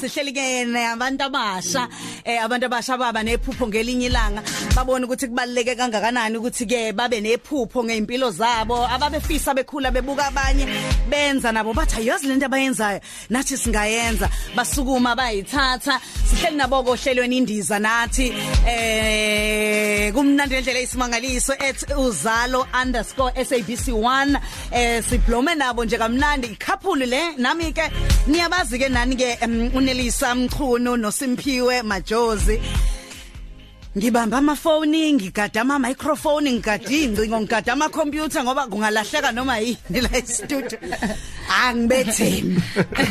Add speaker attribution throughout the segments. Speaker 1: sihleli ke nabantu abasha eh abantu abasha baba nephupho ngelinye ilanga babona ukuthi kubaluleke kangakanani ukuthi ke babe nephupho ngeimpilo zabo ababefisa bekhula bebuka abanye benza nabo bathi ayozi lento abayenzayo nathi singayenza basukuma bayithatha sihleli nabo kohlelweni indiza nathi eh kumnandi ngendlela isimangaliso ethi uzalo_sabc1 eh siblome nabo nje kamnandi ikhaphuli le nami ke niyabazi ke nani ke unelisa mchunu nosimpiwe majozi Ngibamba amafoni, ngigadama microphone, ngigadingi incingo, ngigadama computer ngoba kungalahleka noma yini la e-studio. Angibethembi.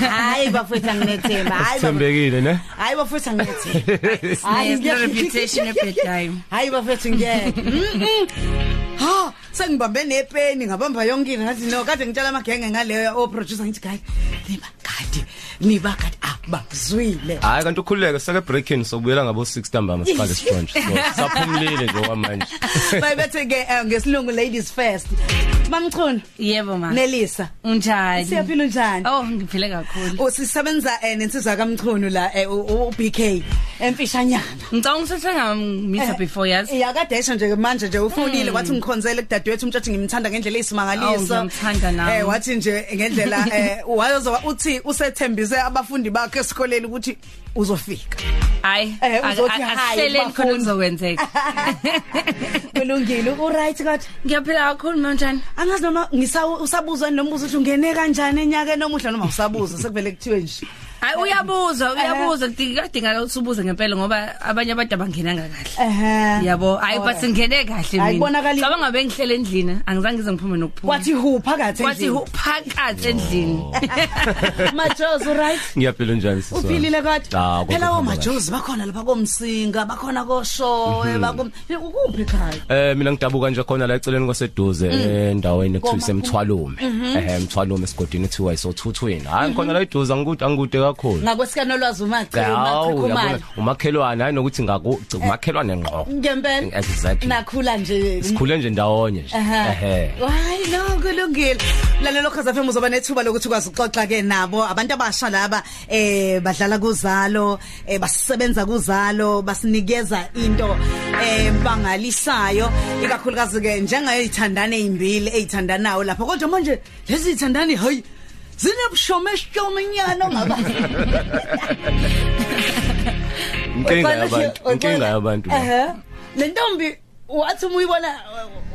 Speaker 1: Hayi bafethu anginethemba. Hayi
Speaker 2: Thembekile ne?
Speaker 1: Hayi bafethu anginethemba.
Speaker 3: There's no reputation at bedtime.
Speaker 1: Hayi bafethu ngeke. Ha, sengibambe nepeni ngabamba yonke into ngathi no kade ngitshela amagenge ngaleyo o producer ngithi guys niba kade niba kade abakuzwile.
Speaker 2: Hayi kanti ukhululeke sake breaking sobuyela ngabo 6 ntambama siqale siphonje. Saphumlile nje okwamanje.
Speaker 1: Bayibethe ke eh, ngesilungu ladies first. Mamchunu
Speaker 3: Yebo ma.
Speaker 1: Nelisa
Speaker 3: Unjani?
Speaker 1: siyaphila njani?
Speaker 3: Oh, ngiphile kakhulu.
Speaker 1: Usisebenza eh, nensizwa kaMchunu la eh, u- u- BK emfishanyana.
Speaker 3: Ngicabanga usesengamisa before yazi.
Speaker 1: Iyakadesha Eh, nje manje nje ufunile wathi ngikhonzele kudadewethu umtshathi ngimthanda ngendlela eyisimangaliso.
Speaker 3: Awu, ngiyamthanda nami.
Speaker 1: Eh wathi nje ngendlela eh wayozoba uthi usethembise abafundi bakhe esikoleni ukuthi uzofika.
Speaker 3: Hayi.
Speaker 1: Eh, uzothi hhayi,
Speaker 3: Ahleleni khona
Speaker 1: bafundi.
Speaker 3: kuzokwenzeka.
Speaker 1: Kulungile, u right kodwa.
Speaker 3: Ngiyaphila kakhulu ma unjani?
Speaker 1: Angazi noma ngisabuzwa nombuzo uthi ungene kanjani enyakeni omuhle noma usabuza sekuvele kuthiwe nje.
Speaker 3: Hayi
Speaker 1: Eh,
Speaker 3: uyabuza, uyabuza kudinga ukuthi ubuze ngempela ngoba abanye abantu abangenanga kahle.
Speaker 1: Ehhe.
Speaker 3: Yabo, hayi but ngene kahle mina.
Speaker 1: Eh, Hayi, kubonakali-
Speaker 3: Cabanga bengihlele endlini, angizange ngize ngiphume nokuphuma.
Speaker 1: Wathi who phakathi
Speaker 3: Kwathi
Speaker 1: endlini?
Speaker 3: uphakathi
Speaker 1: Oh.
Speaker 3: endlini.
Speaker 1: Majozi right?
Speaker 2: Ngiyaphila njani sisi?
Speaker 1: Uphilile
Speaker 2: Ah,
Speaker 1: kodwa.
Speaker 2: konke
Speaker 1: Phela
Speaker 2: kuhamba
Speaker 1: omajozi bakhona lapha komsinga, bakhona koshowe,
Speaker 2: Mhm.
Speaker 1: bakum. Ukuphi ekhaya?
Speaker 2: Eh mina ngidabuka nje khona la eceleni kwaseduze
Speaker 1: Mm.
Speaker 2: endaweni ekuthiwa
Speaker 1: Komakhulu.
Speaker 2: semthwalume.
Speaker 1: Mhm.
Speaker 2: Eh emthwalume esigodini ethiwa isothutwini. Hayi khona la eduze angikude angikude kakhulu.
Speaker 1: Ngakwesikana olwazi umagcina,
Speaker 2: Hawu
Speaker 1: uqhumana.
Speaker 2: yabona umakhelwane hayi nokuthi ngaku umakhelwane ngqo.
Speaker 1: Ngempela.
Speaker 2: Exactly.
Speaker 1: Nakhula nje.
Speaker 2: Sikhule nje ndawonye nje. Ehhe.
Speaker 1: Hayi no kulungile. Lalela ukhaza FM uzoba nethuba lokuthi ukwazi uxoxa ke nabo abantu abasha laba eh badlala kuzalo, eh basebenza kuzalo, basinikeza into eh bangalisayo ikakhulukazi ke njengayithandana ezimbili ezithandanayo lapha kodwa manje lezi zithandani hayi zinebushome shomanyana ngaba.
Speaker 2: Inkinga
Speaker 1: Uqala nje-
Speaker 2: yabantu, inkinga
Speaker 1: uqala-
Speaker 2: yabantu. le.
Speaker 1: Ehhe. Le ntombi wathi umuyibona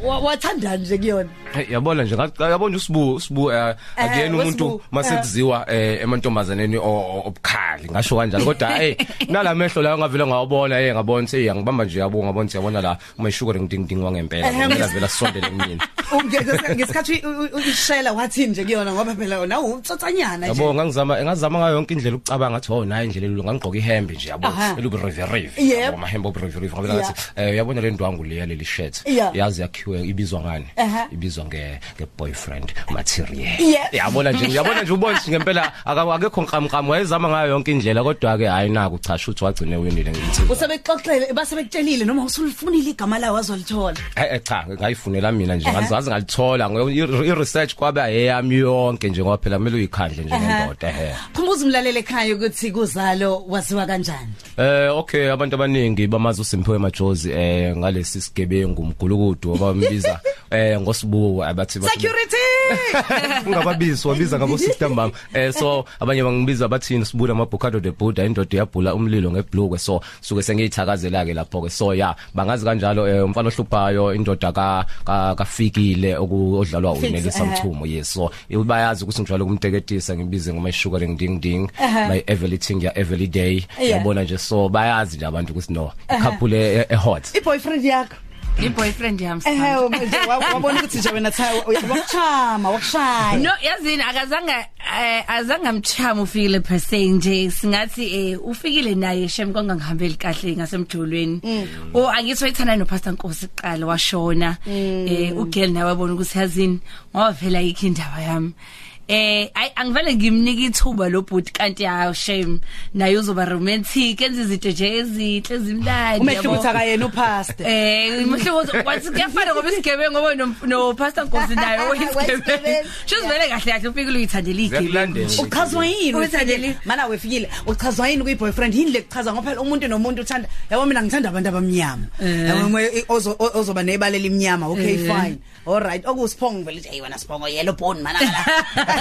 Speaker 1: wa- wathanda nje kuyona.
Speaker 2: Hey, yabona nje ngathi- yabona usibu usibu eh,
Speaker 1: Eh,
Speaker 2: akuyena
Speaker 1: uSibu,
Speaker 2: umuntu
Speaker 1: eh.
Speaker 2: masekuziwa eh, emantombazaneni o- o- obukhali ngasho kanjalo kodwa hey nalamehlo la ngavela ngawabona hey ngabona hey ngibamba nje yabo ngabona nje yabona la uma ishuka ngidingidingwa ngempela
Speaker 1: Eh,
Speaker 2: ngempela vela sondele kumina
Speaker 1: Ungeke- ngesikhathi u- u- ishela wathi nje kuyona ngoba phela wona uwutsotsanyana nje
Speaker 2: yabo ngangizama ngazama ngayo yonke indlela ukucabanga ngathi oh nayi indlela lo ngangqoka ihembe nje yabo
Speaker 1: Aha.
Speaker 2: elube revereve
Speaker 1: Yep.
Speaker 2: yabo mahembe ob revereve ngabona ngathi eh, uyabona le ndwangu leya leli shirt
Speaker 1: Yeah.
Speaker 2: yazi yakhiwe ibizwa ngani
Speaker 1: Aha.
Speaker 2: ibizwa nge nge boyfriend material
Speaker 1: Yeah.
Speaker 2: yabona nje uyabona nje ubona nje ngempela aka- akekho nqamqamo wayezama ngayo yonke indlela kodwa ke hayi naku cha shuthi wagcine winile ngithi
Speaker 1: usebexoxele basebekutshelile noma usulifunile igama lawo wazolithola
Speaker 2: Eh eh, cha ngayifunela mina nje ngazazi ngalithola ngoba i- i research kwaba eyami yonke nje ngoba phela kumele uyikhandle nje ngendoda ehe
Speaker 1: khumbuza umlaleli ekhaya ukuthi kuzalo waziwa kanjani
Speaker 2: Eh okay abantu abaningi bamazi uSimphiwe Majozi eh ngalesi sigebengu umgulukudu obambiza eh ngosibuko abathi bathi
Speaker 1: security
Speaker 2: ungababizi wabiza ngabo sister mama eh so abanye bangibiza bathini sibula amabhokado de buda indoda yabhula umlilo ngeblokwe so suke sengiyithakazela ke lapho ke so ya bangazi kanjalo eh, umfana ohluphayo indoda ka ka- kafikile oku- odlalwa
Speaker 1: Fix,
Speaker 2: unelisa
Speaker 1: eh.
Speaker 2: mthumo yes so ibayazi ukuthi njalo kumteketisa ngibize ngoma sugaring ding ding
Speaker 1: Ehhe.
Speaker 2: my everything ya every day
Speaker 1: Uh-huh. Yeah. Uh-huh.
Speaker 2: yabona nje so bayazi nje abantu ukuthi no couple ehot
Speaker 1: iboyfriend yakho
Speaker 3: Iboyfriend yami.
Speaker 1: ehe manje oh, wa- wabona ukuthi nje wena cha uyakuchama wakushaya
Speaker 3: No yazini akazange eh, azange amchama ufile per se nje singathi eh ufikile naye shem kongangihambeli kahle ngasemjolweni Oh, o angitho ithanda no pastor Nkosi uqala washona eh ugel nawe wabona ukuthi yazini ngoba phela ikho indaba yami eh ay angivele ngimnika ithuba lo bhuti kanti hayi shame naye uzoba romantic enze izinto nje ezinhle ezimnandi
Speaker 1: umehlo
Speaker 3: yabo.
Speaker 1: ukuthi akayena upaste
Speaker 3: Eh umhlobo kwathi kuyafana ngoba isigebe ngoba no- no pastor Nkosi nayo
Speaker 1: Wesigebengu.
Speaker 3: isigebe. Shoze vele kahle kahle ufikile uyithandela
Speaker 2: Ziyakulandela.
Speaker 3: igebe.
Speaker 1: uchazwa yini
Speaker 3: Uyithandele?
Speaker 1: ukuthi- mana wefikile uchazwa yini kuyi-boyfriend yini le kuchaza ngoba phela umuntu nomuntu uthanda yabo mina ngithanda abantu abamnyama
Speaker 3: Eh.
Speaker 1: Yabo, ngoba ozo- o- ozoba nebala elimnyama okay
Speaker 3: Eh.
Speaker 1: fine all right okuwusiphongo vele ukuthi eyi wena siphongo yellow bone mana la."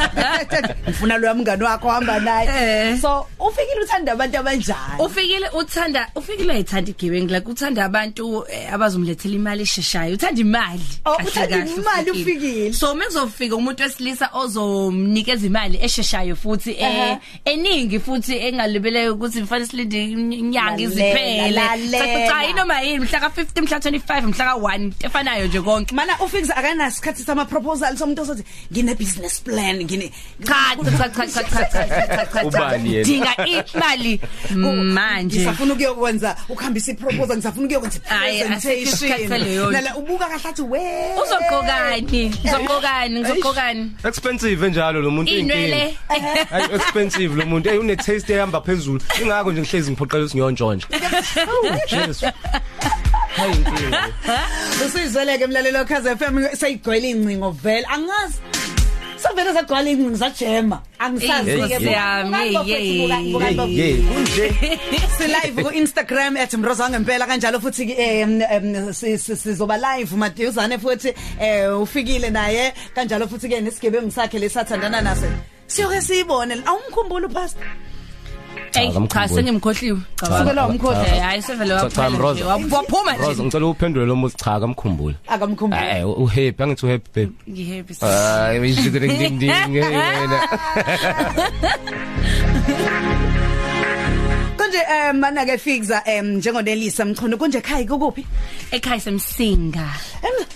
Speaker 1: ngifuna loya mngani wakho ohamba naye
Speaker 3: Eh.
Speaker 1: so ufikile uthanda abantu abanjani
Speaker 3: Ufikile uthanda ufikile ethanda igebe like uthanda abantu eh, abazomlethela imali esheshayo uthanda imali.
Speaker 1: Oh,
Speaker 3: kahle
Speaker 1: uthanda
Speaker 3: kahle
Speaker 1: imali ufikile.
Speaker 3: So mezofika umuntu wesilisa ozomnikeza imali esheshayo futhi eh
Speaker 1: Aha.
Speaker 3: eningi futhi engalibeleyo ukuthi mfanele silinde inyanga
Speaker 1: Lalela,
Speaker 3: iziphele.
Speaker 1: lalela.
Speaker 3: Cha cha noma yini mhla ka 50 mhla 25 mhla ka 1 efanayo nje konke.
Speaker 1: mana ufix akanasikhathi sama-proposal somuntu osothi ngine-business plan ngine
Speaker 3: cha cha cha cha cha cha cha cha cha
Speaker 2: Ubani yena?
Speaker 3: dinga imali manje
Speaker 1: ngisafuna ukuyokwenza ukuhambisa iproposal ngisafuna ukuyokwenza
Speaker 3: Hhayi, asikho isikhathi saleyo
Speaker 1: i-presentation
Speaker 3: nto.
Speaker 1: nala ubuka kahle athi we
Speaker 3: uzogqokani uzogqokani ngizogqokani
Speaker 2: expensive enjalo lo muntu
Speaker 3: inwele
Speaker 2: Ay expensive lo muntu. Ey une taste ehamba phezulu. Ingakho nje ngihlezi ngiphoqelwe singiyontshontje. Jesu. Hayi inkinga.
Speaker 1: usuyizweleke mlalelo wekhazi FM seyigcwele iy'ncingo vele angazi sovele zagcwala iy'ncingo zajema angisazi-ke
Speaker 3: Inkosi yami, yey, yey,
Speaker 2: Hey, kunje.
Speaker 1: si-live ku-instagram at mrozange ngempela kanjalo futhi um sizoba live maduzane futhi um ufikile naye kanjalo futhi-ke nesigebengu sakhe lesathandana naso siyoke siyibone awumkhumbula upasta
Speaker 3: hey cha
Speaker 2: kamkhumbuli.
Speaker 3: sengimkhohliwe
Speaker 1: Sukelwa umkhohlo.
Speaker 3: Eh, hayi sevele
Speaker 2: Cha, um, cha,
Speaker 3: waphuma nje,
Speaker 2: Mroza.
Speaker 3: wa- waphuma
Speaker 2: Rose
Speaker 3: nje
Speaker 2: ngicela uphendule lo muzi cha kamkhumbula.
Speaker 3: Ah,
Speaker 1: akamkhumbula
Speaker 2: Eh uhappy angithi uhappy babe.
Speaker 3: ngihappy
Speaker 2: Hayi mishidring ding ding hey, wena.
Speaker 1: konje um mana-ke fixa um njengonelisa mchono konje ekhaya kukuphi
Speaker 3: ekhaya semsinga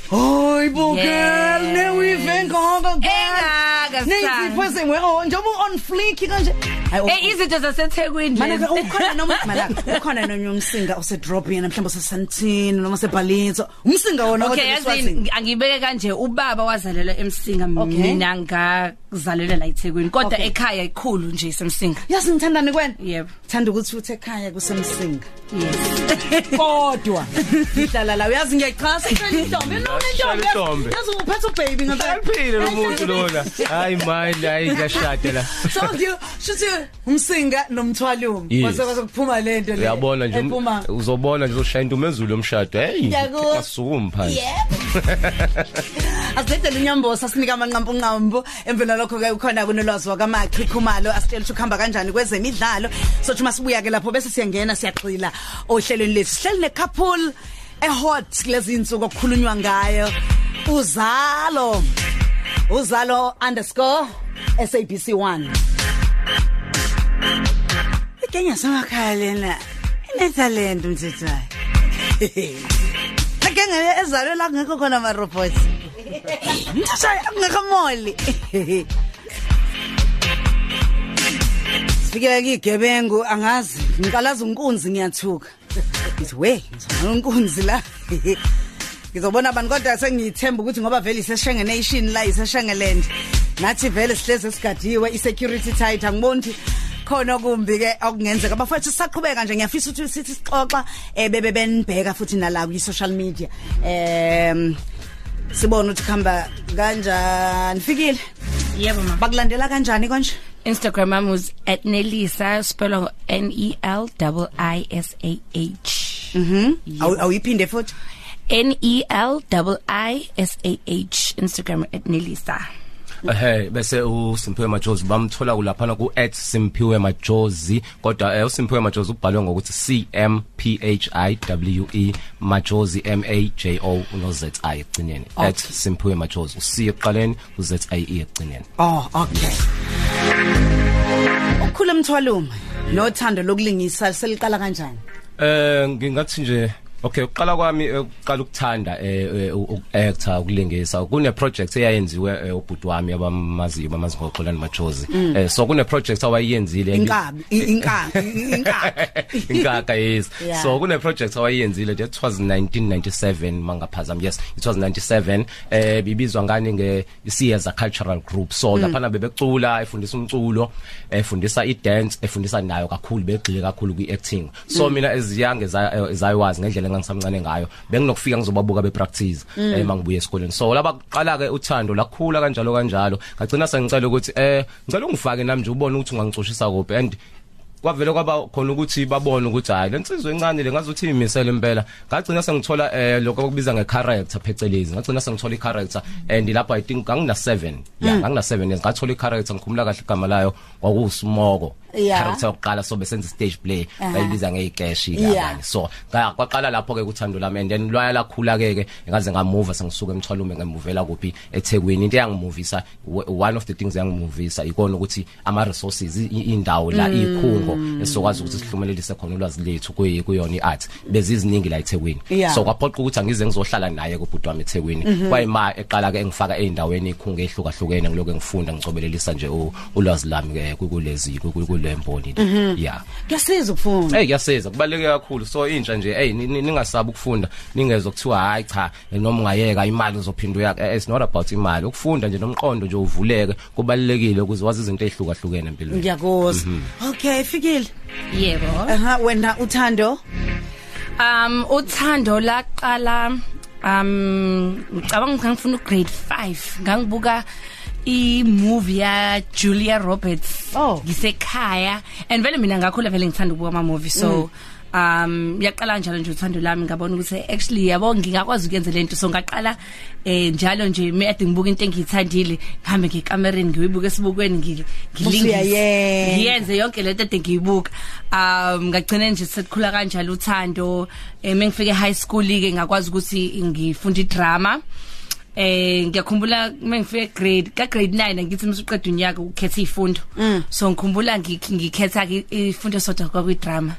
Speaker 1: hayi bo girl
Speaker 3: Yes.
Speaker 1: newive ngoko
Speaker 3: Engaka,
Speaker 1: neyizipho
Speaker 3: sithanda.
Speaker 1: sengwe Oh, njengoba u-on fleek kanje Hayi,
Speaker 3: Eh izinto zasethekwini
Speaker 1: Mana ke
Speaker 3: nje.
Speaker 1: ukhona noma mala ukhona noma umsinga osedrophini mhlawumbe osesantini noma osebhalinso umsinga wona
Speaker 3: Okay yazini angibeke kanje ubaba wazalelwa emsinga
Speaker 1: Okay.
Speaker 3: mina ngazalelwa la eThekwini kodwa
Speaker 1: Okay.
Speaker 3: ekhaya ikhulu nje semsinga
Speaker 1: Yazi ngithandani kwena?
Speaker 3: Yebo.
Speaker 1: Thanda ukuthi uthe ekhaya kusemsinga.
Speaker 3: yes
Speaker 1: Kodwa ngihlala la uyazi ngiyachaza impela intombi noma
Speaker 2: Shayela
Speaker 1: intombi.
Speaker 2: intombi.
Speaker 1: Yazi uphethe ubaby ngempela.
Speaker 2: Ayiphile lo muntu lona. Hayi mind hayi ngiyashada la.
Speaker 1: so ngiyo shuthi umsinga nomthwalume
Speaker 2: Yes.
Speaker 1: kwase kwase kuphuma lento le
Speaker 2: Uyabona nje um-
Speaker 1: ephuma
Speaker 2: uzobona nje ushaya intumezulu yomshado. Hey.
Speaker 1: Ngiyakuzwa.
Speaker 2: Asukumi phansi.
Speaker 1: asidedele unyambosa asinika amanqampunqampu emvela lokho-ke ukhona kunolwazi wakamakhi khumalo asitshela ukuthi ukuhamba kanjani kwezemidlalo sothi uma sibuya-ke lapho bese siyangena siyagxila ohlelweni lethu sihleli nekhapul ehot kulezi insuku okukhulunywa ngayo uzalo uzalo underscore sabc one ikenya samakhaya lena inetalento mthethwayo akenge ezalwe la kungekho khona amarobhothi mthethwayo akungekho moli sifikele kiyigebengu angazi ngiqalaza unkunzi ngiyathuka ngithi we ngizobona unkunzi la ngizobona abantu kodwa sengiyithemba ukuthi ngoba vele iseshengenation la iseshengeland nathi vele sihlezi esigadiwe i-security tight angiboni ukuthi khona okumbi-ke okungenzeka bafowethu sisaqhubeka nje ngiyafisa ukuthi sithi sixoxa um bebe benibheka futhi nala kwi-social media um sibone ukuthi kuhamba kanjani fikile
Speaker 3: yebo ma
Speaker 1: bakulandela kanjani konje
Speaker 3: Instagram am was at Nelisa spelled N E L I S A H.
Speaker 1: Mhm. Awu- awuyiphinde futhi
Speaker 3: N E L I S A H Instagram at Nelisa.
Speaker 2: ehe Eh, bese uSimphiwe Majozi bamthola kulaphana ku @simphiwe Majozi kodwa eh, uSimphiwe Majozi ubhalwe ngokuthi C M P H I W E Majozi M A J O no Z I egcineni
Speaker 3: Okay.
Speaker 2: @simphiwe Majozi uC eqaleni uZ I E egcineni
Speaker 1: Oh, okay. Ukhula mthwalume nothando lokulingisa seliqala kanjani?
Speaker 2: eh ngingathi nje Okay uqala kwami eh, uqala ukuthanda eh, eh, ukuactor ukulingisa kune project eyayenziwe eh, ubhuti wami abamaziyo bamazingoxolani majozi Eh, so kune project awayiyenzile
Speaker 1: inkabi i- inkabi i- inkabi
Speaker 2: inkaka yes
Speaker 1: Yeah.
Speaker 2: so kune project awayiyenzile nje it was 1997 mangaphazam yes it was 97 eh bibizwa ngani nge Siyaza cultural group so lapha na bebecula efundisa umculo efundisa i dance efundisa nayo kakhulu begxile kakhulu kwi acting so mina as young as I- as I was ngendlela engangisamncane ngayo benginokufika ngizobabuka be practice eh mangibuye esikoleni so laba qala ke uthando lakhula kanjalo kanjalo ngagcina sengicela ukuthi eh ngicela ungifake nami nje ubone ukuthi ungangicoshisa kuphi and kwavele kwaba khona ukuthi babone ukuthi hayi lensizwe encane le ngazuthi imisele impela ngagcina sengithola eh lokho okubiza ngecharacter phecelezi ngagcina sengithola icharacter and lapha i think ngangina 7 yeah ngangina 7 years ngathola icharacter ngikhumula kahle igama layo kwakusimoko
Speaker 1: Yeah.
Speaker 2: character yokuqala so bese senze stage play
Speaker 1: Aha.
Speaker 2: bayibiza ngeikeshi
Speaker 1: Yeah.
Speaker 2: kabani so nga- kwaqala lapho ke kuthando lami and then lwaya lakhula ke ke ngaze ngamuva sengisuka emthwalume ngemuvela kuphi eThekwini into yangimovisa one of the things yangimovisa ikona ukuthi ama resources i- indawo la ikhungo esokwazi ukuthi sihlumelelise khona ulwazi lethu kuyi- kuyona iart beziziningi la eThekwini
Speaker 1: Yeah.
Speaker 2: so kwaphoqa ukuthi angize ngizohlala naye kubhuti wami eThekwini kwayima eqala ke engifaka eindaweni ikhungo ehlukahlukene ngiloko ngifunda ngicobelelisa nje u- ulwazi lami ke kulezi kulemboni yeah
Speaker 1: kuyasiza ukufunda
Speaker 2: Hey kuyasiza kubaleke kakhulu so intsha nje hey ni- ni- ningasaba ukufunda ningezwe kuthiwa hayi cha noma ungayeka imali uzophinda uyak Eh, it's not about imali ukufunda nje nomqondo nje uvuleke kubalekile ukuze wazi izinto ezihlukahlukene empilweni
Speaker 1: ngiyakuzwa okay fikile
Speaker 3: yebo
Speaker 1: aha wena uthando
Speaker 3: um uthando laqala um ngicabanga ukuthi ngifuna ugrade 5 ngangibuka i-movie ya Julia Roberts
Speaker 1: Oh.
Speaker 3: ngisekhaya and vele mina ngakhula vele ngithanda ukubuka ama movie so um yaqala njalo nje uthando lami ngabona ukuthi actually yabo ngingakwazi ukwenza lento so ngaqala eh njalo nje made ngibuka into engiyithandile ngihambe ngekamereni ngiyibuke esibukweni ngi- ngilingise
Speaker 1: Usuyayenza.
Speaker 3: Ngiye- ngiyenze yonke le nto ade ngiyibuka um ngagcina nje sekukhula kanjalo uthando um engifike high school ke ngakwazi ukuthi ngifunde idrama eh ngiyakhumbula mengifike grade ka grade 9 ngithi msuqeda unyaka ukhetha izifundo so ngikhumbula ngik- ngikhetha ke izifundo sodwa kwakwi drama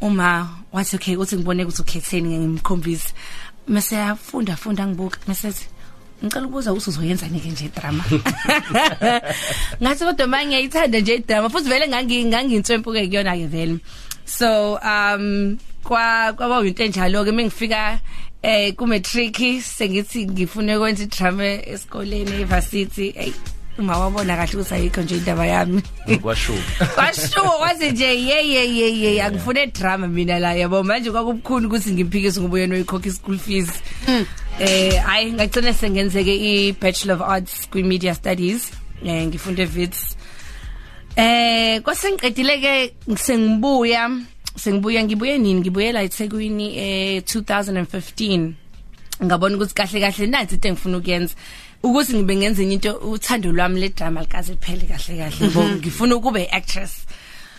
Speaker 3: uma wathi okay uthi ngibone ukuthi ukhetheni ngimkhombisa mase yafunda funda ngibuka mase ethi, ngicela ukubuza ukuthi uzoyenza nike nje idrama ngathi kodwa manje ngiyayithanda nje idrama futhi vele ngangi- ngangintshempu ke kuyona ke vele so um kwa kwaba into enjalo ke mengifika eh ku matric sengithi ngifune ukwenza idrama esikoleni evarsity hey uma wabona kahle ukuthi ayikho nje indaba yami
Speaker 2: kwashuka
Speaker 3: kwashuwa kwaze nje ye ye ye ye angifune drama mina la yabo manje kwakubukhuni ukuthi ngimphikise ngobuye noyikhokha ischool fees eh hayi ngagcina sengenzeke i-bachelor of arts kwi-media studies eh ngifunde vits eh kwasengiqedile ke sengibuya sengibuya ngibuye nini ngibuye la eThekwini eh 2015 ngabona ukuthi kahle kahle nansi into engifuna ukuyenza ukuthi ngibe ngenze enye into uthando lwami le drama likaze liphele kahle kahle bo ngifuna ukuba iactress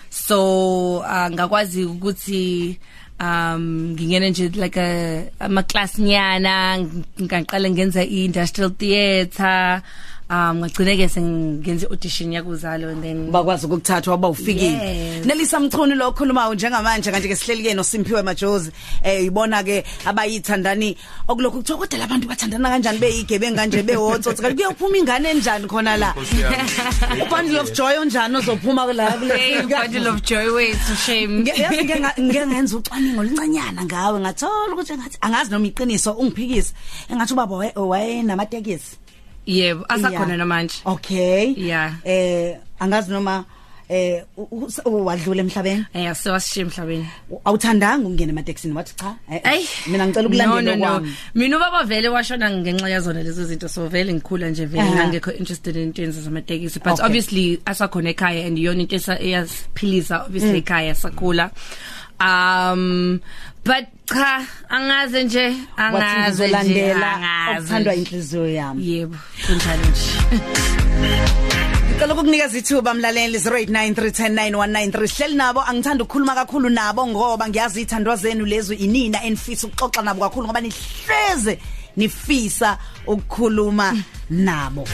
Speaker 3: so uh, ngakwazi ukuthi um ngingena nje like a ama class nyana ngaqala ngenza i-industrial theatre um ngagcine ke sengenze audition yakuzalo and then
Speaker 1: bakwazi ukukuthathwa bawufikile
Speaker 3: Yes.
Speaker 1: Nelisa Mchunu lo okhulumayo njengamanje kanti ke sihlelike noSimpiwe Majozi eh ibona ke abayithandani okuloko kuthiwa kodwa labantu bathandana kanjani beyigebengu kanje bewotsotsi kanti kuyophuma ingane enjani khona la ubundle of joy onjani ozophuma la kule-
Speaker 3: Hey, bundle of joy wethu shame.
Speaker 1: Nge- yazi ngike nga- ngike ngenza ucwaningo oluncanyana ngawe ngathola ukuthi ngathi angazi noma iqiniso ungiphikise engathi ubaba waye- wayenamatekisi
Speaker 3: Yebo, asakhona
Speaker 1: Yeah.
Speaker 3: namanje.
Speaker 1: okay
Speaker 3: Yeah.
Speaker 1: eh angazi noma eh u- u- s- u- wadlula emhlabeni
Speaker 3: Eh, so wasishiya emhlabeni.
Speaker 1: U- awuthandanga ukungena ematekisini wathi cha eh, eh,
Speaker 3: Ay,
Speaker 1: mina ngicela ukulandela
Speaker 3: no, no,
Speaker 1: kwami
Speaker 3: no. Mina ubaba vele washona ngenxa yazona lezo zinto so vele ngikhula nje vele
Speaker 1: Aha.
Speaker 3: ngangekho interested in into zamatekisi but
Speaker 1: Okay.
Speaker 3: obviously asakhona ekhaya and yona into esa- eyasiphilisa obviously
Speaker 1: Mm.
Speaker 3: ekhaya sakhula. Um but cha angaze nje
Speaker 1: wathi
Speaker 3: angaze nje
Speaker 1: ngizolandela okuthandwa
Speaker 3: angaze.
Speaker 1: inhliziyo yami
Speaker 3: Yebo, kunjalo nje.
Speaker 1: ngicela ukukunikeza ithuba mlaleli 0893109193 sihleli nabo angithanda ukukhuluma kakhulu nabo ngoba ngiyazi ithandwa zenu lezo inina enifisa ukuxoxa nabo kakhulu ngoba nihleze nifisa ukukhuluma nabo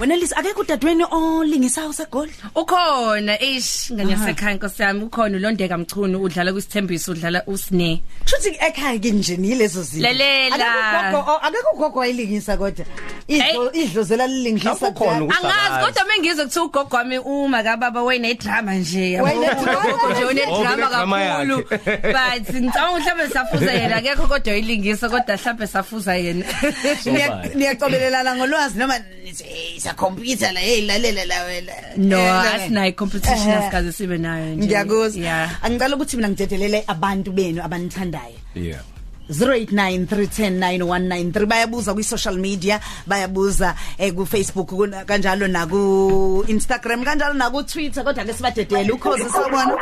Speaker 1: wena lisa akekho udadweni olingisayo segoli
Speaker 3: ukhona eish nganyasekhaya inkosi yami ukhona ulondeka mchunu udlala kwisithembiso udlala usine
Speaker 1: Futhi ekhaya ke nje nilezo zinto.
Speaker 3: Lalela.
Speaker 1: Akekho ugogo- akekho ugogo wayilingisa kodwa. Idlo idlozela lilingisa.
Speaker 2: Lapho khona
Speaker 1: kuphela.
Speaker 3: angazi
Speaker 2: Usakazi.
Speaker 3: kodwa mengizwe kuthiwa ugogo wami uma kababa wayenedrama nje yabo.
Speaker 1: Wayenedrama.
Speaker 3: Ugogo nje unedrama
Speaker 2: Oh, unedrama
Speaker 3: kakhulu
Speaker 2: yakhe.
Speaker 3: but ngicabanga mhlawumbe safuza yena akekho kodwa oyilingisa kodwa mhlawumbe safuza yena
Speaker 1: Niya- Niyacobelelana ngolwazi noma isa computer la hey lalela la wena.
Speaker 3: no
Speaker 1: Eh, la-
Speaker 3: asinayo competition
Speaker 1: Eh.
Speaker 3: asikaze sibe nayo nje
Speaker 1: Ngiyakuzwa.
Speaker 3: yeah
Speaker 1: Angicela ukuthi mina ngidedelele abantu benu abanithandayo.
Speaker 2: yeah
Speaker 1: 0893109193 bayabuza kwi social media bayabuza eh, ku Facebook kuna- kanjalo na ku Instagram kanjalo na ku Twitter kodwa ke sibadedele ukhozi sawubona.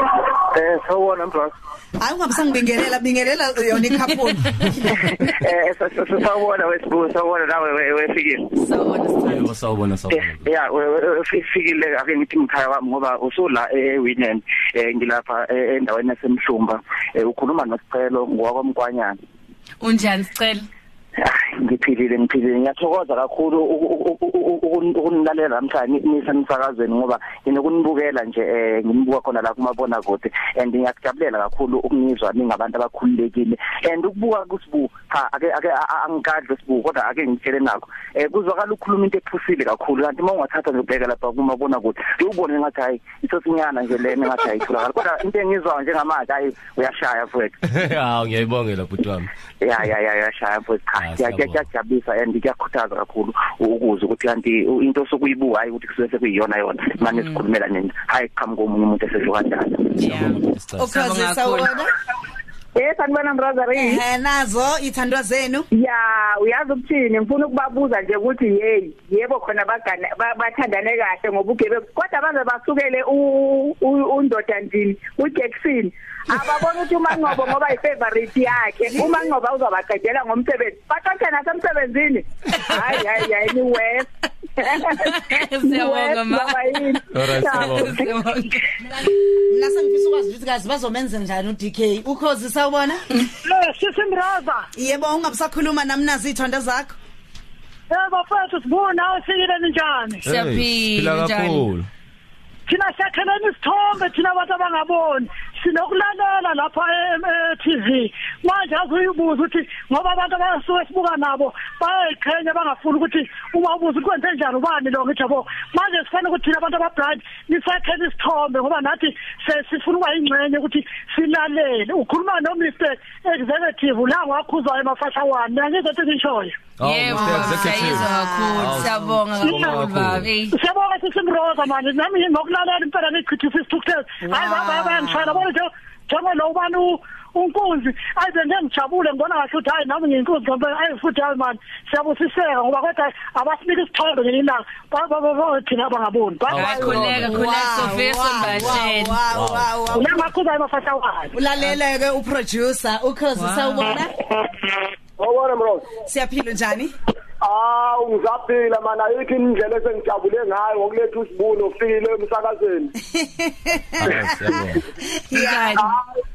Speaker 4: Eh sawona mdrasu.
Speaker 1: Hayi ungabisangibingelela bingelela yona ikhaphulu.
Speaker 4: Eh sawona wesibu sawona nawe wefikile.
Speaker 3: so
Speaker 2: yebo sawubona sawubona
Speaker 4: Yeah wefikile ake ngithi mkhaya wami ngoba usula eWinham eh ngilapha eh, endaweni yasemhlumba Eh, ukhuluma nosicelo ngowakwaMkwanyana.
Speaker 3: unjani sicela
Speaker 4: Hayi, ngiphilile ngiphilile ngiyathokoza kakhulu uku- uku- uku- uku- ukunilalela namhlanje nisemsakazweni ngoba nginokunibukela nje eh ngimbuka khona la kumabona kude and ngiyakujabulela kakhulu ukunizwa ningabantu abakhululekile and ukubuka kusibu cha ake ake a- a- angikadli sibu kodwa ake ngitshele nakho eh kuzwakala ukukhuluma into ephusile kakhulu kanti uma ungathatha nje ubheka lapha kumabona kude uyobona ngathi hayi isosinyana nje lena ngathi hayi thulakala kodwa into engizwayo njengamanje hayi uyashaya futhi
Speaker 2: hawu ngiyayibongela bhuti wami
Speaker 4: ya ya ya ya shaya mfowethu
Speaker 2: Ah,
Speaker 4: cha Kuya- kuya-
Speaker 2: siyabonga.
Speaker 4: kuyajabulisa and kuyakhuthaza kakhulu ukuze ukuthi kanti u- into sokuyibuka hayi ukuthi kusuke sekuyiyona yona manje
Speaker 2: Mm.
Speaker 4: sikhulumela nini hayi qhamuka omunye umuntu esezwe kanjalo
Speaker 3: Oh,
Speaker 2: yeah.
Speaker 1: Ukhozi sawubona.
Speaker 5: Eh sanibona mbrother
Speaker 1: Eh nazo ithandwa zenu.
Speaker 5: ya uyazi ukuthini ngifuna ukubabuza nje ukuthi hey yebo khona bagana ba- bathandane kahle ngoba ugebe kodwa baze basukele u- u- undoda ndini uJackson ababona ukuthi uManqobo ngoba yifavorite yakhe uManqobo uzobaqedela ngomsebenzi baxoxe nasemsebenzini hayi hayi hayi ni west
Speaker 3: Siyabonga, ma.
Speaker 2: Alright, siyabonga.
Speaker 3: Siyabonga.
Speaker 1: Mina sengifisa ukwazi ukuthi kazi bazomenza njani uDK. Ukhozi sawubona.
Speaker 6: sisimraza
Speaker 1: Yebo ungabusakhuluma nami nazi ithandwa zakho.
Speaker 6: eh bafethu sibona awufikile ninjani
Speaker 2: Hey,
Speaker 3: siyaphila
Speaker 2: siphila
Speaker 3: njani
Speaker 2: kakhulu
Speaker 6: thina siyakhelana isithombe thina abantu abangaboni sinokulalela lapha e-tv manje azuyibuza ukuthi ngoba abantu abasuke sibuka nabo bayayiqhenya bangafuni ukuthi uma ubuza ukuthi kwenze njani ubani lo ngithi yabo manje sifanele ukuthi thina abantu abablind nisakhela isithombe ngoba nathi se- sifuna ukuba yingxenye ukuthi silalele ukhuluma nomr executive la ngwakhuzayo emafahla one mina ngizethi ngishoyo
Speaker 2: Hawu,
Speaker 3: yebo
Speaker 2: Mr. Executive.
Speaker 3: siyizwa kakhulu
Speaker 2: Hawu,
Speaker 3: siyabonga
Speaker 2: sibonga kakhulu.
Speaker 3: kakhulu babe
Speaker 6: siyabonga sisimroza manje nami ngokulalela impela nichithisa isithukuthezi hayi babayangishayela bona nje njengolo ubani u- unkunzi ayi bende ngijabule ngibona kahle ukuthi hayi nami ngiyinkunzi ngoba ayi futhi hayi mani siyabusiseka ngoba kodwa abasinika isithombe ngenye ilanga Ba- ba- ba- ba- thina abangaboni Ba-
Speaker 3: Hayi,
Speaker 6: ba-
Speaker 3: khuleka khuleka sofisa mbashela
Speaker 1: Wow wow wow.
Speaker 6: ulamaqhuza emafahla wayo
Speaker 1: Ulaleleke uproducer Ukhozi
Speaker 3: Wow.
Speaker 1: sawubona.
Speaker 7: Awona bro.
Speaker 1: Siyaphila njani?
Speaker 7: Ah ungizaphila mana yithi indlela esengijabule ngayo ngokuletha usibuno ufikile emsakazweni.
Speaker 2: Hawu, Ah, siyabonga
Speaker 3: njani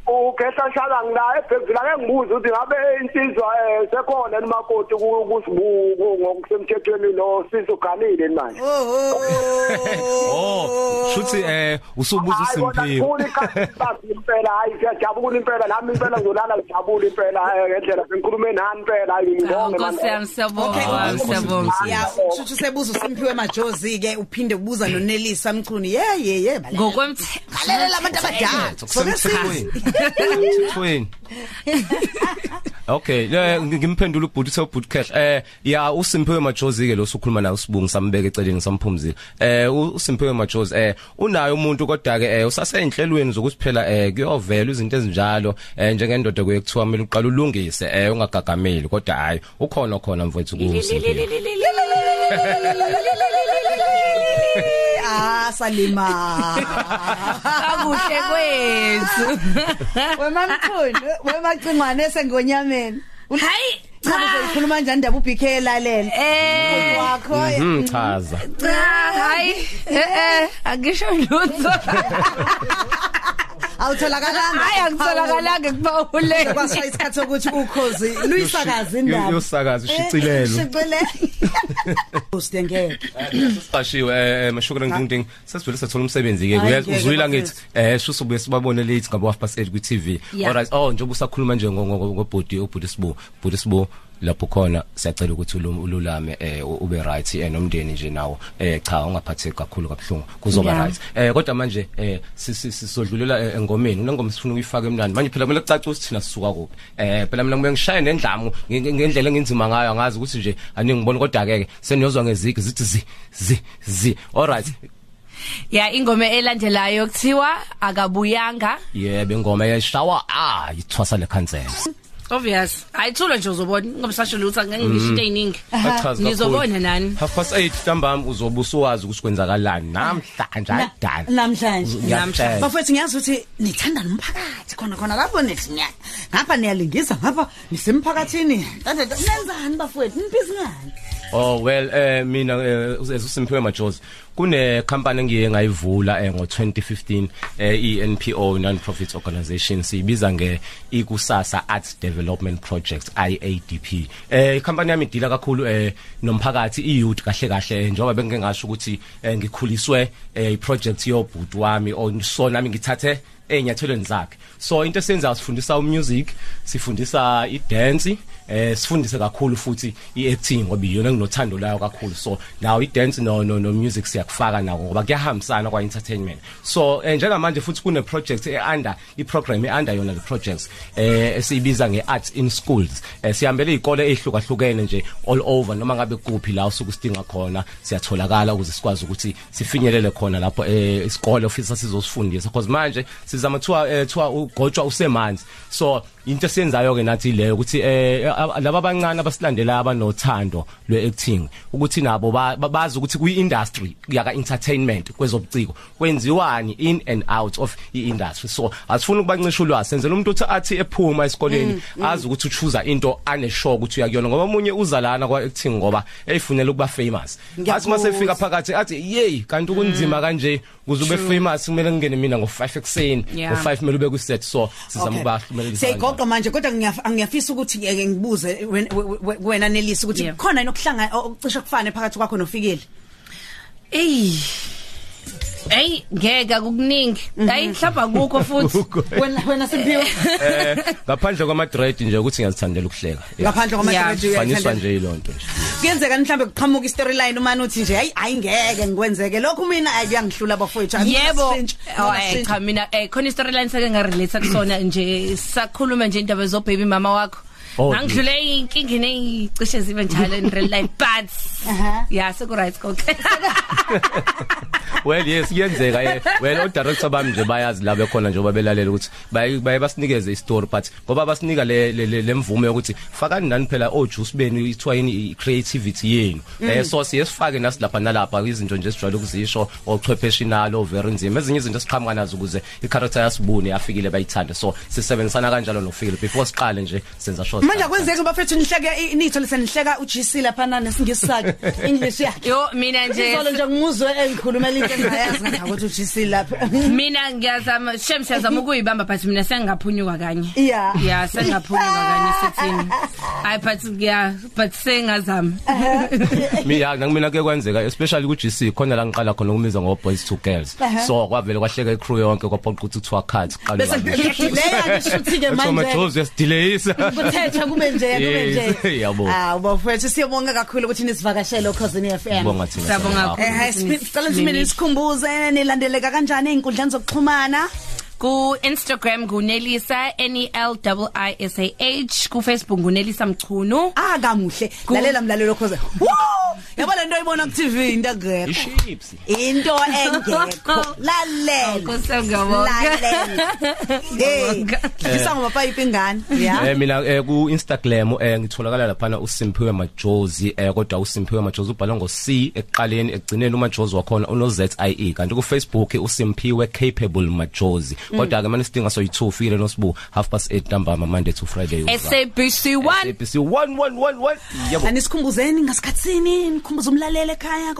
Speaker 7: Ah, Ukhetha shala ngilaye ebhekvila ke ngibuza ukuthi ngabe insizwa eh sekhona nimakoti kusibuko ngokusemthethweni lo sizo ganile manje.
Speaker 1: oh,
Speaker 2: Oh, shuthi eh usubuza
Speaker 7: Ah,
Speaker 2: uSimphiwe.
Speaker 7: khona ikhasi impela hayi siyajabula impela nami impela ngizolala ngijabule impela eh, ngendlela sengikhulume nani impela hayi
Speaker 3: Hawu,
Speaker 7: ngibonge
Speaker 3: Nkosi yami siyabonga
Speaker 1: Okay.
Speaker 3: wami, siyabonga
Speaker 1: Ya, uthuthu sebuza uSimphiwe Majozi ke uphinde ubuza noNelisa Mchunu. Yeah yeah yeah. balela.
Speaker 3: ngokwemthe
Speaker 1: Lalela abantu abadala.
Speaker 2: Kusemthethweni. Kusemthethweni. Okay, le ngimphendula ubhuti sobhuti cash. Eh ya uSimphiwe Majozi ke lo sokhuluma naye usibungu sambeka eceleni samphumzile. Eh u- uSimphiwe Majozi eh unayo umuntu kodwa ke eh usasenhlelweni zokuthi phela eh kuyovela izinto ezinjalo eh njengendoda kwekuthiwa mele uqala ulungise eh ungagagameli kodwa hayi ukhona khona mfowethu kuSimphiwe.
Speaker 1: Ah salima.
Speaker 3: kakuhle kwethu
Speaker 1: wemamthunu wemacingwane esengonyameni
Speaker 3: hayi
Speaker 1: cha uzoyikhuluma njani ndaba ubk lalela
Speaker 3: eh
Speaker 1: wakho
Speaker 2: Mhm chaza.
Speaker 3: cha hayi eh eh angisho lutho
Speaker 1: awutholakalanga
Speaker 3: hayi angitholakalanga kuba
Speaker 1: Hawu,
Speaker 3: ulele
Speaker 1: kwashaya isikhathi sokuthi ukhozi luyisakaza indaba
Speaker 2: yosakaza ushicilelo
Speaker 1: ushicilelo sengeke
Speaker 2: sesiqashiwe mashukura ngdingding sesivele sathola umsebenzi ke
Speaker 1: Hhayi,
Speaker 2: uyazi
Speaker 1: ngeke,
Speaker 2: uzwila ngithi
Speaker 1: bafethu.
Speaker 2: eh sho sobuye sibabone late ngabo half past 8 ku TV
Speaker 3: Yeah.
Speaker 2: alright oh njengoba usakhuluma nje ngo- ngo- ngobhodi obhodi sibo bhodi sibo lapho khona siyacela ukuthi ulum- ululame eh u- ube right eh nomndeni nje nawo eh cha ungaphatheki kakhulu kabuhlungu kuzoba
Speaker 3: Yeah.
Speaker 2: right eh kodwa manje eh si- si- sisodlulela eh, engomeni unengoma sifuna ukuyifaka emnandi manje phela kumele kucace ukuthi thina sisuka kuphi eh phela mina ngibe ngishaya nendlamu nge- nge- ngendlela engenzima ngayo angazi ukuthi nje aningibona kodwa ke seniyozwa ngezigi zithi zi zi zi alright
Speaker 3: ya ingoma elandelayo kuthiwa akabuyanga
Speaker 2: yebo ingoma yeshawa ah ithwasa lekhansela
Speaker 3: obvious ayithulo nje uzobona ngomsashilo ukuthi angeke ngisho into eyiningi nizobona nani
Speaker 2: half past 8 ntambama uzobe usuwazi ukuthi kwenzakalani namhlanje adala
Speaker 1: namhlanje
Speaker 2: Ngiyakutshela.
Speaker 1: bafethu ngiyazi ukuthi nithanda nomphakathi khona khona lapho nithi nya ngapha niyalingisa ngapha nisemphakathini Tante, nenzani bafethu nibhizi ngani
Speaker 2: Oh well eh mina eh, as uSimphiwe Majosi kune company engiye ngayivula eh, ngo2015 eh, iNPO non-profit organisation siyibiza nge ikusasa arts development project IADP eh icompany yami idila kakhulu eh nomphakathi iyouth kahle kahle eh, njengoba bengike ngasho ukuthi eh, ngikhuliswe eh, iproject yobhuti wami on so nami ngithathe ezinyathelweni zakhe so into esenzayo sifundisa umusic sifundisa idance eh sifundise kakhulu futhi iacting ngoba iyona enginothando layo kakhulu so nawo idance no no, no music siyakufaka nako ngoba kuyahambisana kwa entertainment so eh, njengamanje futhi kune project e-under i-program e-under yona le projects eh esiyibiza nge-arts in schools eh, sihambele izikole ezihlukahlukene nje all over noma ngabe kuphi la usuku sidinga khona siyatholakala ukuze sikwazi ukuthi sifinyelele khona lapho eh, isikole ofisa sizosifundisa because manje sizama thiwa eh, thiwa ugotshwa usemanzi so into esiyenzayo ke nathi leyo ukuthi eh, a- a- laba abancane abasilandelayo abanothando lwe-acting ukuthi nabo ba- ba- bazi ukuthi kwi-industry yaka-entertainment kwezobuciko kwenziwani in and out of i-industry so asifuni ukubancisha ulwazi senzela umuntu ukuthi athi ephuma esikoleni azi ukuthi uchuza into aneshow ukuthi uyakuyona ngoba omunye uza lana kwa-acting ngoba eyifunela ukuba famous athi uma sefika phakathi athi yeyi kanti kunzima kanje ukuze ube famous kumele ngingene mina ngo-five ekuseni
Speaker 3: Yeah.
Speaker 2: ngo-five kumele ube kwiset so sizama
Speaker 1: Okay.
Speaker 2: ukubahlumelelisa
Speaker 1: siyayigoqa manje kodwa ngiyaf- ngiyafisa ukuthi eh, ngibuze wena- we- we- wena nelisi ukuthi
Speaker 3: Yeah.
Speaker 1: khona yini okuhlanga okucisha kufane phakathi kwakho nofikile
Speaker 3: eyi eyi ngeke akukuningi hayi mhlawumbe akukho futhi
Speaker 1: wena wena simphiwe
Speaker 2: eh ngaphandle kwama-dread nje ukuthi ngiyazithandela ukuhleka Yeah.
Speaker 1: ngaphandle kwamathread
Speaker 3: Yeah.
Speaker 2: faniswa nje yilonto nje
Speaker 1: kuyenzeka mhlawumbe kuqhamuka i-storyline umane uthi nje hayi hayi ngeke ngikwenzeke lokhu mina hayi kuyangihlula bafowethu Hayi, mina
Speaker 3: yebo
Speaker 1: sintshe, mina
Speaker 3: Oh, eh,
Speaker 1: sintshe.
Speaker 3: cha mina eh, khona i-storyline sake ngarelate kusona nje sakhuluma nje indaba zobhebi mama wakho
Speaker 2: Oh,
Speaker 3: ngangidlule inkingeni eyicishe zibe njalo in real life but
Speaker 1: Aha.
Speaker 3: ya seku-right konke
Speaker 2: well yes kuyenzeka eh. well odirector bami nje bayazi la bekhona njengoba belalela ukuthi baye baye basinikeze i-story but ngoba basinika le- le- le- le mvume yokuthi fakani nani phela ojuice benu ithiwa yini i-creativity yenu um so siye sifake nasi lapha nalapha izinto nje esijwayele ukuzisho ochwepheshe nalo very nzima ezinye izinto esiqhamuka nazo ukuze i-character yasibune yafikile bayithande so sisebenzisana kanjalo nofikile before siqale nje senza sure
Speaker 1: manje akwenzeki bafethu nihleke nitho lisenihleka uGC lapha nane singesizathu English yakhe
Speaker 3: yo mina
Speaker 1: izolo
Speaker 3: nje
Speaker 1: nje ngimuzwe engikhulumela into engayazi ngakuthi uGC lapha
Speaker 3: mina ngiyazama shem siyazama ukuyibamba but mina sengingaphunyuka kanye
Speaker 1: Yeah.
Speaker 3: ya sengingaphunyuka kanye sethini hayi but ya but sengazama
Speaker 2: mina nangimina ke kwenzeka especially ku GC khona la ngiqala khona ukumiza ngo boys to girls so kwavele kwahleka icrew yonke kwaphoqa ukuthi kuthiwa cut qala
Speaker 1: bese leya ngishuthi ke manje
Speaker 2: Majosi yasidelayisa
Speaker 1: kuthetha kube nje kube
Speaker 2: Yes,
Speaker 1: nje
Speaker 2: yabo.
Speaker 1: ah bafethu siyabonga kakhulu ukuthi nisivakashele uCousine FM
Speaker 2: Ngibonga thina
Speaker 3: Siyabonga
Speaker 2: siyabonga.
Speaker 3: kakhulu.
Speaker 1: Eh sicela nje mina isikhumbuze nilandeleka kanjani einkundleni zokuxhumana
Speaker 3: ku Instagram ngunelisa n e l i s a h ku Facebook ngunelisa mchunu
Speaker 1: akamuhle lalela mlalelo khoze Woo! yabo lento oyibona ku TV into engekho
Speaker 2: iships
Speaker 1: into engekho
Speaker 3: Awukho
Speaker 1: lalela
Speaker 3: sengiyabonga.
Speaker 1: hey
Speaker 3: Ngiyabonga.
Speaker 1: kisa ngomapayipi ingane
Speaker 2: eh
Speaker 1: ya
Speaker 2: mina eh ku Instagram eh ngitholakala lapha na uSimphiwe Majosi eh kodwa uSimphiwe Majosi ubhalwa ngo C ekuqaleni ekugcineni uMajosi wakhona uno Z I E kanti ku Facebook uSimphiwe Capable Majosi
Speaker 1: Mm.
Speaker 2: kodwa ke manje sidinga so yi2 file nosibu half past 8 ntambama Monday to Friday uza
Speaker 3: SABC 1
Speaker 2: SABC 1111 yabo
Speaker 1: anisukhumbuzeni ngasikhatsini nikhumbuza umlalelo ekhaya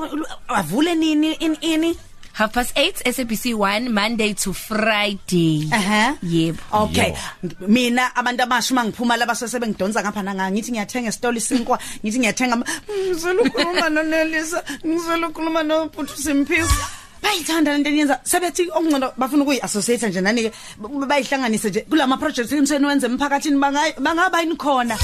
Speaker 1: avule nini ini ini
Speaker 3: half past 8 SABC 1 Monday to Friday
Speaker 1: Ehhe.
Speaker 3: yebo
Speaker 1: Okay.
Speaker 2: Yo.
Speaker 1: Mina abantu abasha mangiphuma laba sesebengidonsa ngapha nanga ngithi ngiyathenga isitoli sinkwa, ngithi ngiyathenga ama- ngizela ukukhuluma nonelisa, ngizela ukukhuluma nophuthu simphisa. Bayithanda lento eniyenza. Sebethi okungcono bafuna ukuyiassociate nje nanike bayihlanganise nje kulama projects emsebenzi emphakathini bangayi- bangaba yini khona.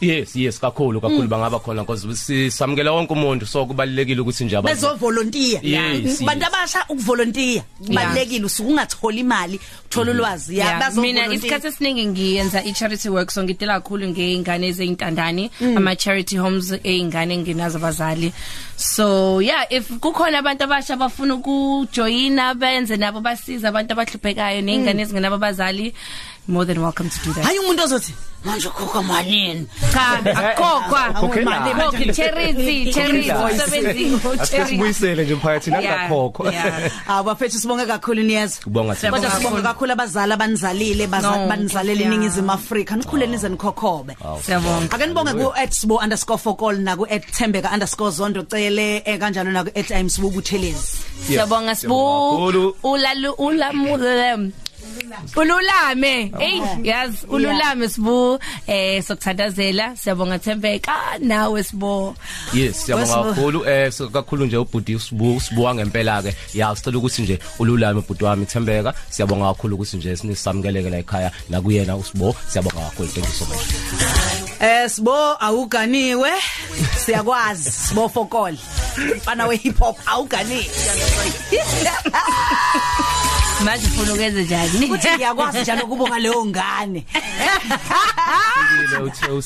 Speaker 2: yes yes kakhulu
Speaker 3: Mm.
Speaker 2: kakhulu bangaba khona because sisamukela wonke umuntu so kubalekile ukuthi nje abantu
Speaker 1: bezovolontiya
Speaker 2: Yes,
Speaker 1: bantu
Speaker 2: yes.
Speaker 1: abasha ukuvolontiya kubalekile usuke ungathola imali uthola ulwazi ya
Speaker 3: mina
Speaker 1: bazovolontiya
Speaker 3: isikhathi esiningi ngiyenza i-charity work so ngidela kakhulu ngey'ngane eziy'ntandane
Speaker 1: Mm.
Speaker 3: ama-charity homes ey'ngane engenazo abazali so yeah if kukhona abantu abasha abafuna ukujoyina benze nabo basize abantu abahluphekayo ney'ngane ezingenabo abazali more than welcome to do
Speaker 1: Mm.
Speaker 3: that
Speaker 1: hayi umuntu ozothi manje ukhokha malini
Speaker 3: cha akhokhwa
Speaker 2: Akhokhela.
Speaker 3: Akhokhi, charity charity usebenzile charity
Speaker 2: asibuyisele nje emphakathini
Speaker 3: Yeah,
Speaker 2: akakhokhwa
Speaker 3: yeah.
Speaker 1: awabafethu Ah, sibonge kakhulu niyeza
Speaker 2: kubonga
Speaker 3: Siyabonga.
Speaker 1: kodwa sibonge kakhulu abazali abanizalile baza-
Speaker 3: No,
Speaker 1: banizalela
Speaker 3: yeah.
Speaker 1: iningizimu afrika nikhule nize nikhokhobe
Speaker 3: siyabonga
Speaker 1: ake nibonge ku-atsbo underscore fokol naku-athembeka underscore zondo cele um kanjalo naku-at imsibubutelezi
Speaker 3: Siyabonga Sibu.
Speaker 2: Siyabonga kakhulu.
Speaker 3: Ulalu ulamule. Ululame.
Speaker 2: Oh.
Speaker 3: Hey, yazi ululame Sibu. Eh sokuthandazela. Siyabonga Thembeka nawe Sibo.
Speaker 2: yes siyabonga
Speaker 1: Wesibo-
Speaker 2: kakhulu eh so kakhulu nje ubhuti usibu sibuwa ngempela ke ya sicela ukuthi nje ululame ubhuti wami Thembeka siyabonga kakhulu ukuthi nje sinisamukeleke la ekhaya nakuyena usibo siyabonga kakhulu thank you so much
Speaker 1: Eh sibo awuganiwe siyakwazi sibo fokole mfana we hip hop awuganiwe
Speaker 3: Manje ufuna ukwenze njani?
Speaker 1: ukuthi ngiyakwazi njalo kuboka leyo ngane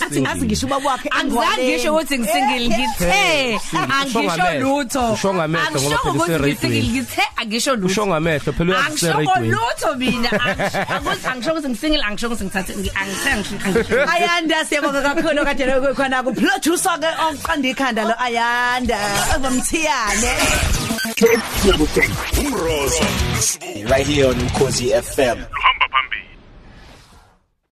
Speaker 1: athi ngazi ngisho ubaba wakhe
Speaker 3: Angizange ngisho ukuthi ngisingile ngithe angisho
Speaker 2: ngamehlo.
Speaker 3: lutho.
Speaker 2: Usho ngamehlo ngoba
Speaker 3: Angisho
Speaker 2: phela
Speaker 3: ukuthi
Speaker 2: useradweni.
Speaker 3: ngisingile ngithe angisho
Speaker 2: usho
Speaker 3: lutho.
Speaker 2: ngamehlo phela
Speaker 3: Angisho
Speaker 2: uyaseradweni
Speaker 3: lutho mina. Angisho angisho ukuthi ngisingile angisho ukuthi ngithathe angisho angisho.
Speaker 1: ayanda siyabonga kakhulu kade lokho khona ku producer ke oqanda ikhanda lo ayanda ongomthiyane
Speaker 8: Umrozo right here on Mkozi FM